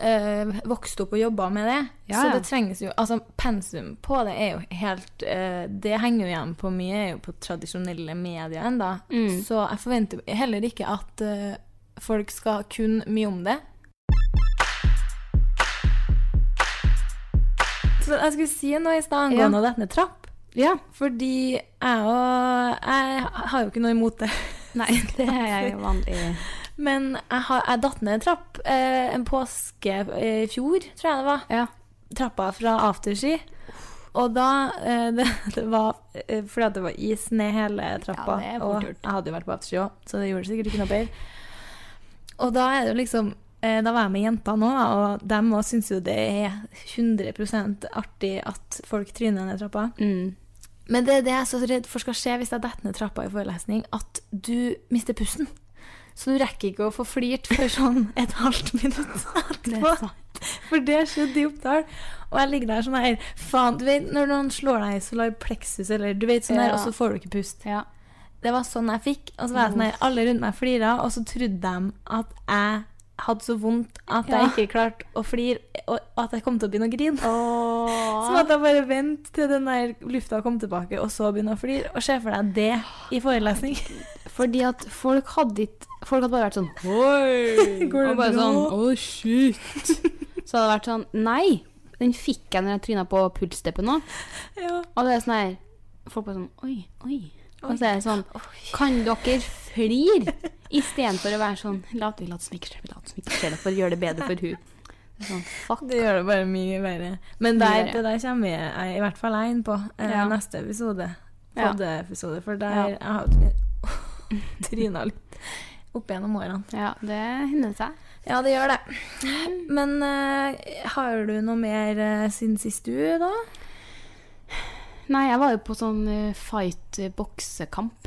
øh, vokst opp og jobba med det. Ja, Så ja. det trengs jo Altså, pensum på det er jo helt øh, Det henger jo igjen på mye er jo på tradisjonelle medier ennå. Mm. Så jeg forventer jo heller ikke at øh, folk skal kun mye om det. Så jeg skulle si noe i stad Ja. angående dette med trapp. Ja. Fordi jeg og Jeg har jo ikke noe imot det. Nei, det er jeg vanlig Men jeg, har, jeg datt ned en trapp eh, en påske eh, i fjor, tror jeg det var. Ja. Trappa fra afterski. Og da eh, det, det var eh, Fordi at det var is ned hele trappa. det er fort og gjort. jeg hadde jo vært på afterski òg, så det gjorde sikkert ikke noe bedre. Og da er det jo liksom eh, Da var jeg med jentene òg, og dem òg syns jo det er 100 artig at folk tryner ned trappa. Mm. Men det er det jeg er så redd for skal skje hvis jeg detter ned trappa i forelesning, at du mister pusten. Så du rekker ikke å få flirt før sånn et halvt minutt etterpå. For det skjedde i Oppdal. Og jeg ligger der sånn her Faen, du vet når noen slår deg i solar plexus, eller du vet sånn her, Ja. og så får du ikke pust. Ja. Det var sånn jeg fikk. Og så var jeg sånn her, alle rundt meg flira, og så trodde de at jeg hadde så vondt at jeg Ja. ikke klarte å flire, og og at jeg kom til å begynne å grine. Så måtte jeg bare vente til den der lufta kom tilbake, og så begynne å flire. Og se for deg det i forelesning. Fordi at folk hadde ikke Folk hadde bare vært sånn Oi! Går det og bare bra? sånn Å, shit! Så hadde det vært sånn Nei! Den fikk jeg når jeg tryna på pulsteppet nå. Ja. Og det er sånn her Folk bare sånn Oi, oi. Og så er det sånn Kan dere flire? Istedenfor å være sånn La vi late som ikke skjer, vi later som ikke skjer, for å gjøre det bedre for hun. Det er Sånn, fuck. Det gjør det bare mye verre. Men Mye der, verre. det der kommer jeg, jeg i hvert fall jeg inn på eh, Ja. neste episode. Ja. Podde-episode. For Ja. der jeg har jeg tryna litt opp gjennom årene. Ja, det hender seg. Ja, det gjør det. Men eh, har du noe mer eh, siden sist du, da? Nei, jeg var jo på sånn eh, fight-boksekamp.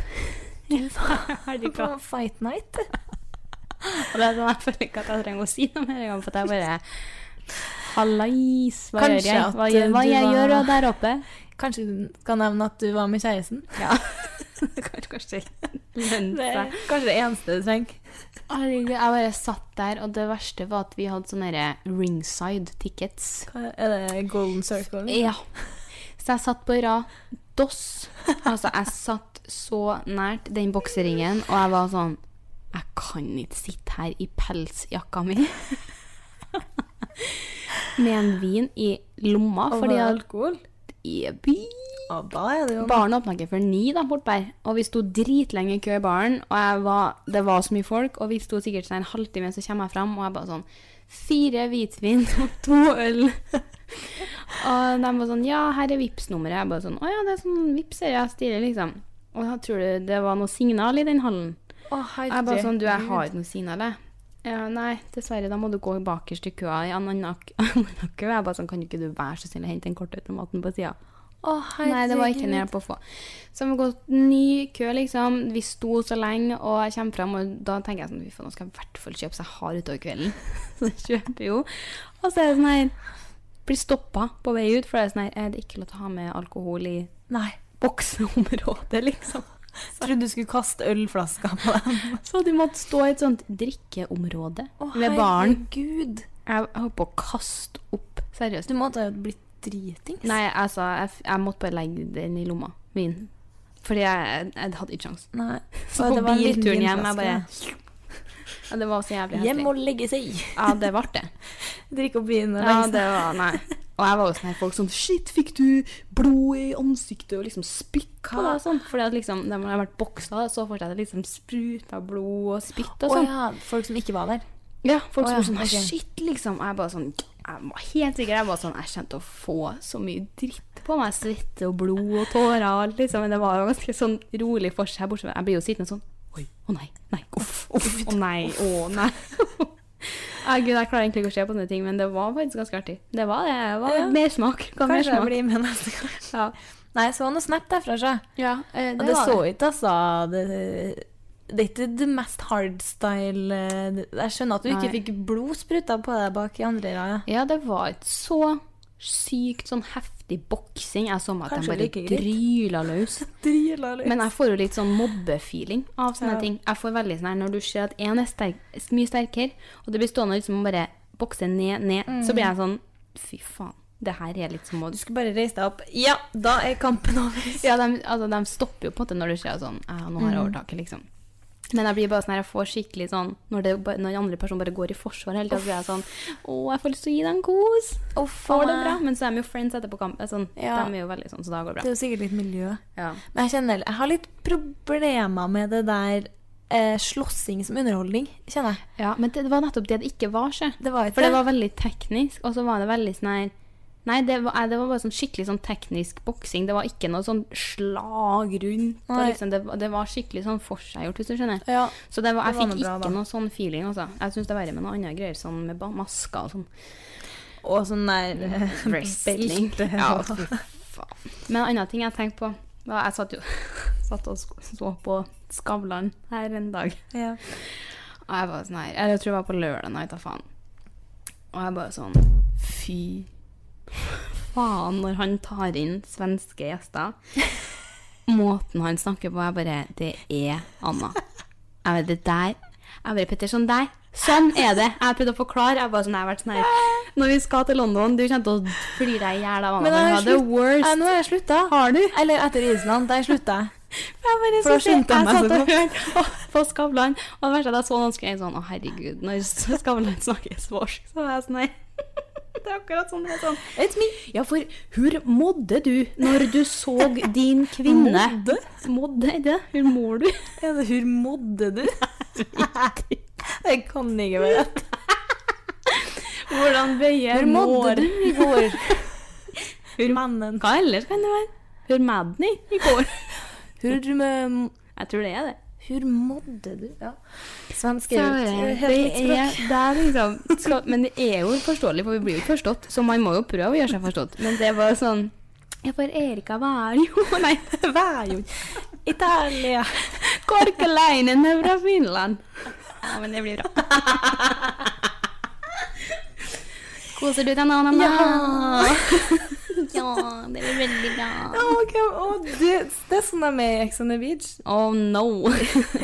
På Fight Night? Og det er sånn, Jeg føler ikke at jeg trenger å si noe mer engang, for at jeg bare Hallais, hva Kanskje gjør jeg? at, Hva, gjør, hva eh, du jeg var- gjør der oppe? Kanskje du skal nevne at du var med kjæresten? Ja. Kanskje ikke Det lønner er seg. kanskje det eneste du trenger. Herregud, jeg bare satt der, og det verste var at vi hadde sånne der ringside tickets. Hva Er det Golden Circle? Ja. Så jeg satt på rad DOS. Altså, jeg satt så nært den bokseringen, og jeg var sånn Jeg kan ikke sitte her i pelsjakka mi med en vin i lomma, Og fordi var det at alkohol? Jebby. Ja, da er det jo Baren åpna ikke før ni da, bortbær. Og vi sto dritlenge i kø i baren, og jeg var, det var så mye folk, og vi sto sikkert sånn en halvtime, så kommer jeg fram, og jeg bare sånn Fire hvitvin og to øl. og de var sånn Ja, her er Vipps-nummeret. Jeg bare sånn Å ja, det er sånn Vipps er jeg stilig, liksom. Og da tror du det var noe signal i den hallen? Å, Og jeg bare sånn Du, jeg har ikke noe signal, jeg. Ja, nei, dessverre, da må du gå bakerst i køa i en annen kø. Jeg bare sånn Kan ikke du være så snill å hente den kortautomaten på sida? Å, herregud. Nei, det var ikke en hjelp å få. Så vi gått ny kø, liksom. Vi sto så lenge, og jeg kommer frem, og da tenker jeg sånn, fy faen, nå skal jeg i hvert fall kjøpe seg hard utover kvelden. Så jeg kjøper jo. Og så er det sånn her, blir stoppet på vei ut, for det er sånn her, er det ikke lov til å ha med alkohol i Nei. bokseområdet, liksom. Jeg trodde du skulle kaste ølflasker på dem. Så de måtte stå i et sånt drikkeområde ved baren. herregud. Jeg holdt på å kaste opp, seriøst. Du måtte ha blitt dritings. Nei, altså, jeg, f- jeg måtte bare legge den i lomma min. Fordi jeg, jeg hadde ikke sjans. Nei. Så Og på det var en liten bilturen hjem, jeg vinflaske, bare ja. ja, Det var så jævlig Hjem heslig. og legge seg. Ja, det ble det. Drikke opp vin og Ja, legge seg. det var Nei. Og jeg var jo sånn her folk som Shit, fikk du blod i ansiktet og liksom spytt på deg og sånn? Fordi at liksom, de har vært boksa, så får jeg det liksom spruta blod og spytt og Å sånn. ja, folk som ikke var der. Ja, folk spør Å ja, sånn «Nei, ok. Shit, liksom. Jeg bare sånn Jeg var helt sikker. Jeg var sånn Jeg kommer til å få så mye dritt på meg. Svette og blod og tårer og alt, liksom. Men det var jo ganske sånn rolig for seg. Bortsett fra Jeg blir jo sittende sånn Oi. Å nei. Nei. Uff. Uff. Å nei. Å nei. Ja, Gud, jeg klarer egentlig ikke å se på sånne ting, men det var faktisk ganske artig. Det var det. Det var Ja. mersmak. Ga Kanskje jeg mersmak. blir med neste gang. Ja. Nei, så var noe snap derfra, sjø. ja, eh, Og det, det var så det. ikke, altså det, det er ikke det mest hardstyle eh, det- Jeg skjønner at du Nei. ikke fikk blod spruta på deg bak i andre rad. ja. Ja, det var et så sykt sånn heftig boksing. Jeg så meg at Kanskje de like bare greit. dryla løs. Drila litt. Men jeg får jo litt sånn mobbefeeling av sånne Ja. ting. Jeg får veldig sånn her Når du ser at én er sterk, mye sterkere, og det blir stående liksom og bare bokse ned, ned, så blir jeg sånn Fy faen, det her er litt som å Mm. Du skulle bare reise deg opp. Ja, da er kampen over. Ja, de, altså, de stopper jo på en måte når du ser sånn «Ah, Nå Mm. har jeg overtaket, liksom. Men jeg blir bare sånn her, jeg får skikkelig sånn Når, det, ba- når den andre personen bare går i forsvar hele tida, så blir jeg sånn Å, jeg får lyst til å gi dem kos. Oh, Får det bra. Men så er de jo friends etterpå kampen. Sånn, Ja. De er jo veldig sånn, så da går det Det bra. er jo sikkert litt miljø. Ja. Men jeg kjenner, jeg har litt problemer med det der eh, slåssing som underholdning, kjenner jeg. ja, Men det, det var nettopp det det ikke var, sjø. Det var ikke For det var veldig teknisk, og så var det veldig sånn her Nei, det var, nei, det var bare sånn skikkelig sånn teknisk boksing. Det var ikke noe sånn slag rundt. og Nei. Liksom, det, det var skikkelig sånn forseggjort, hvis du skjønner. Ja. Så det var, jeg Det var fikk noe bra, da. ikke noe sånn feeling, altså. Jeg syns det er verre med noe annet greier, sånn med ba- masker og sånn. Og sånn der eh, Wrestling. belte. Ja, fy faen. Men en annen ting jeg tenkte på var Jeg satt jo satt og sk- så på Skavlan her en dag. Ja. Og jeg var sånn her eller Jeg tror jeg var på lørdag, nei, ta faen. Og jeg bare sånn Fy faen, når han tar inn svenske gjester. Måten han snakker på, jeg bare Det er Anna. Jeg bare, det der Jeg bare, Petter, sånn der. Sånn er det. Jeg prøvde å forklare. Jeg bare sånn, jeg har vært sånn her Når vi skal til London, du kommer til å flire deg i hjel av Anna. Men jeg hun har var the slutt- worst. Nei, nå har jeg slutta. Har du? Eller etter Island, der slutta jeg. Jeg bare For da synes skjønte han jeg meg så satt og hørte og- på Skavlan. Og det verste er at jeg så noen skrev sånn Å, herregud, når Skavlan snakker svorsk, så er jeg sånn Nei. Det er akkurat sånn det er sånn. It's me. Ja, for hvor modde du når du så din kvinne? Modde? Modde er det. Hvor mår du? Ja, det Hvor modde du? det kan ikke være rett. Hvordan bøyer Hvor modde mår? du i går? Hvor mannen Hva ellers kan det være? Hvor Madny i går? Hvor, eh, Jeg tror det er det. hvor modde du? Ja. Svenske Så ut. er det- Helt det er språk. der, liksom. Skal, men det er jo forståelig, for vi blir jo ikke forstått. Så man må jo prøve å gjøre seg forstått. Men det var sånn Ja, for Erika var jo Nei, det var jo Italia. Korkeleinen er fra Finland. Ja, men det blir bra. Koser du deg nå, mamma? Ja. Ja, det blir veldig bra. Å, ok, å, det, det er sånn det er med i Ex on the Beach. Oh no.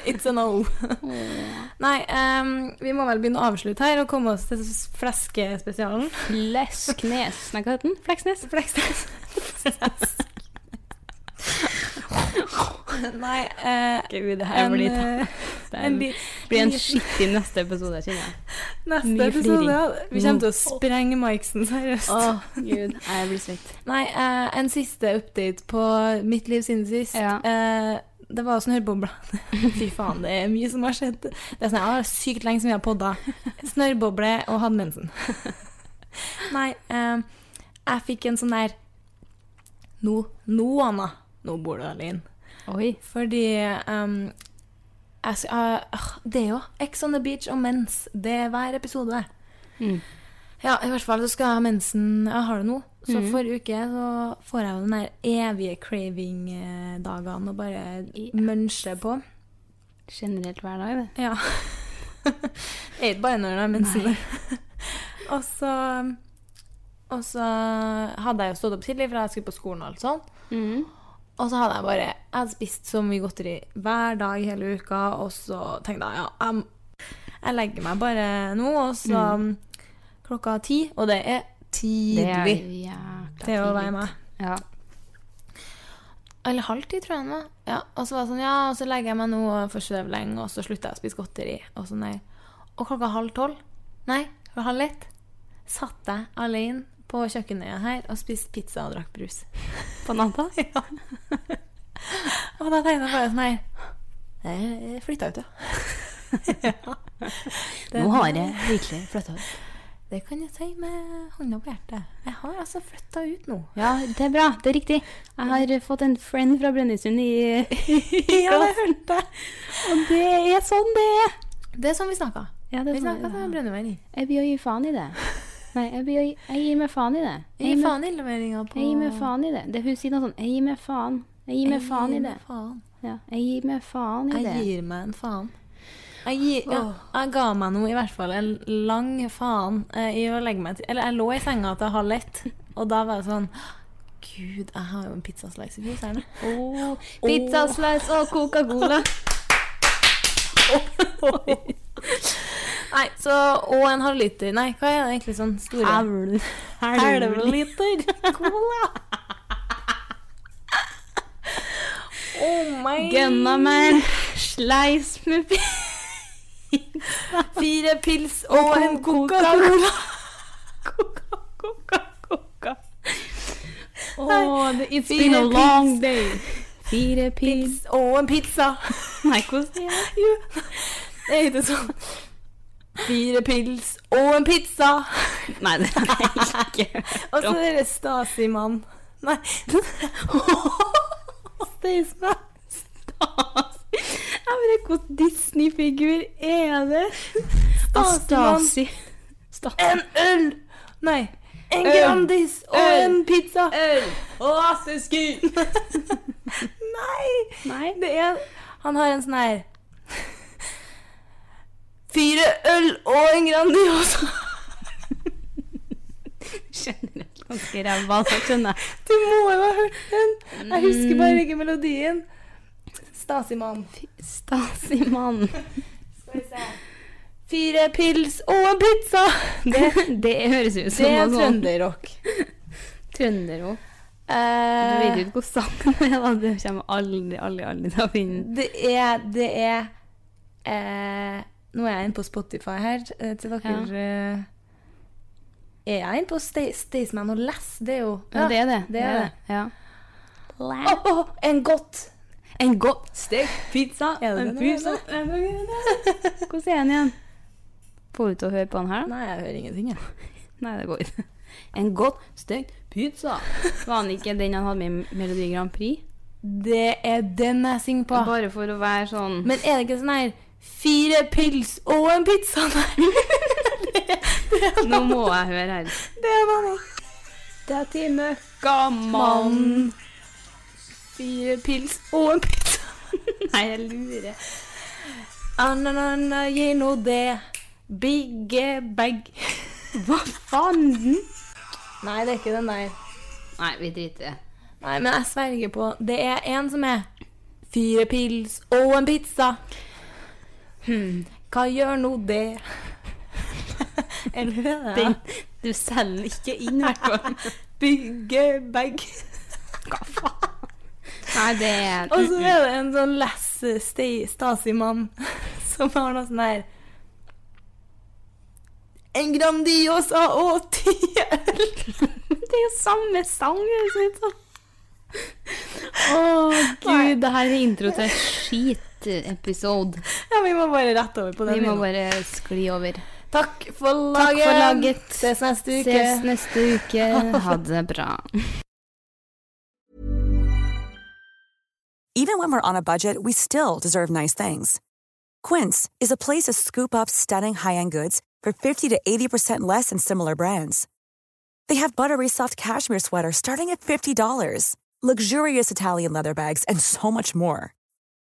It's a no. Nei, ehm, vi må vel begynne å avslutte her og komme oss til s- fleskespesialen. Flesknes. Nei, hva heter den? Fleksnes? Fleksnes. Nei eh, Gud, det en, blir eh, en li- blir en liten- skittig neste episode, kjenner jeg. Neste mye episode. fliring. Mm. ja. Vi kommer til å sprenge mikesen, seriøst. gud. Jeg blir svett. Nei, eh, en siste update på mitt liv siden sist. Ja. Eh, det var sånn snørrbobla. Fy faen, det er mye som har skjedd. Det er sånn, ja, det er sykt lenge som vi har podda. Snørrboble og hadde mensen. Nei, eh, jeg fikk en sånn der Nå, nå, Anna. Nå bor du alene. Oi. Fordi ehm, jeg, s- ah, ah, Det er jo Ex on the beach og Mm. mens. Det er hver episode. Ja, i hvert fall så skal jeg ha mensen Jeg har det nå. Så forrige uke så får jeg jo den der evige craving-dagene og bare Yes. muncher på. Generelt hver dag, det. Ja. Det er ikke bare når det er mensen. og så Og så hadde jeg jo stått opp tidlig, for jeg skulle på skolen og alt sånn. Mm. Og så hadde jeg bare Jeg hadde spist så mye godteri hver dag hele uka, og så tenkte jeg ja, jeg, jeg legger meg bare nå, og så klokka ti, og Mm. det er tidlig jækla til å tidlig. være meg. Ja. Eller halv ti, tror jeg den var. Ja, og så var det sånn, ja, og så legger jeg meg nå og får sove lenge, og så slutter jeg å spise godteri. Og så nei. Og klokka halv tolv, nei, klokka halv ett, satt jeg alene på kjøkkenøya her og spiste pizza og drakk brus. På natta? Ja. og da tenkte jeg bare sånn her, jeg flytta ut, ja. ja. Nå har jeg virkelig flytta ut. Det kan jeg si med hånda på hjertet. Jeg har altså flytta ut nå. Ja, det er bra. Det er riktig. Jeg har eh, fått en friend fra Brønnøysund i Ja, det hørte jeg. Og det er sånn det er. Det er sånn vi snakka. Ja, det Vi er sånn, snakka som ja. brønnøyveier. Jeg blir å gi faen i det. Nei, jeg, blir å gi, jeg gir meg faen i det. Gi gir meg- faen i innleveringa på Jeg gir meg faen i det. det hun sier noe sånn Jeg gir meg faen. Jeg gir meg faen i det. faen. Ja, jeg gir meg faen i det. Jeg gir meg en faen. Jeg, gir, ja, jeg ga meg nå i hvert fall en lang faen eh, i å legge meg til Eller jeg lå i senga til halv ett, og da var jeg sånn Gud, jeg har jo en pizzaslice i fryseren. Åh, Pizza slice og Coca-Cola. Nei, så Og en halvliter Nei, hva er det egentlig sånn store Halvliter cola! Oh my Gønna meg en slice med pi- Fire pils og en Coca-Cola. Coca, Coca, Coca. Åh, det, it's been a long day. Fire pils Pils og en pizza. Nei, hvordan sier jeg Jo, det er ikke sånn. Fire pils og en pizza. Nei, det er jeg ikke. Og så er det Stasi-mann. Nei. Staysman. Jeg vet ikke hvordan Disney-figur er det. Stasi-mann. Stasi. En øl! Nei. En Øl. Grandis og Øl. en pizza. Øl. Nei. Nei. Det er Han har en sånn her Fire øl og en Grandiosa. Generelt ganske ræva, altså, skjønner jeg. Mm. Du må jo ha hørt den. Jeg husker bare ikke melodien. Stasi-mann. Stasi-mann. Fire pils og en pizza! Det, det høres ut som Det er noe sånn trønderrock. trønder òg. Du Eh, vet jo ikke hvordan sangen er, da. Det kommer aldri, aldri, aldri til å finne det er Det er eh, Nå er jeg inne på Spotify her, eh, til dere Ja. eh, Er jeg inne på Sta- Staysman og Lass? Det er jo Ja, det er det. det er det. Ja. Åh, åh, en godt! En godt stekt pizza. Er det en det det pizza. Hvordan er den igjen? Får du til å høre på den her, da? Nei, jeg hører ingenting, jeg. Nei, det går ikke. En godt stekt pizza. Var den ikke den han hadde med i Melodi Grand Prix? Det er den jeg synger på. Bare for å være sånn Men er det ikke sånn her Fire pils og en pizza? Nei. det, det er Nå må jeg høre her. Det er en annen. Det er til møkkamann. Mann. Fire pils og en pizza. Nei, jeg lurer. Ananana, gi nå det. Bigge bag. Hva fanden? Nei, det er ikke den der. Nei, vi driter i det. Nei, men jeg sverger på Det er en som er Fire pils og en pizza. Hmm, Hva gjør nå det? Eller hva er Den, det? du selger ikke inn, i hvert fall. Bygge bag. Nei, det er Og så er det en sånn less-stasi-mann som har noe sånn her En Grandiosa og ti øl. Det er jo samme sang, høres det ut som. Å, gud. Det her er intro til skitepisode. Ja, vi må bare rette over på den. Vi må nå. bare skli over. Takk for Takk laget. for laget. Ses neste uke. Ses neste uke. Ha det bra. Even when we're on a budget, we still deserve nice things. Quince is a place to scoop up stunning high end goods for 50 to 80% less than similar brands. They have buttery soft cashmere sweaters starting at $50, luxurious Italian leather bags, and so much more.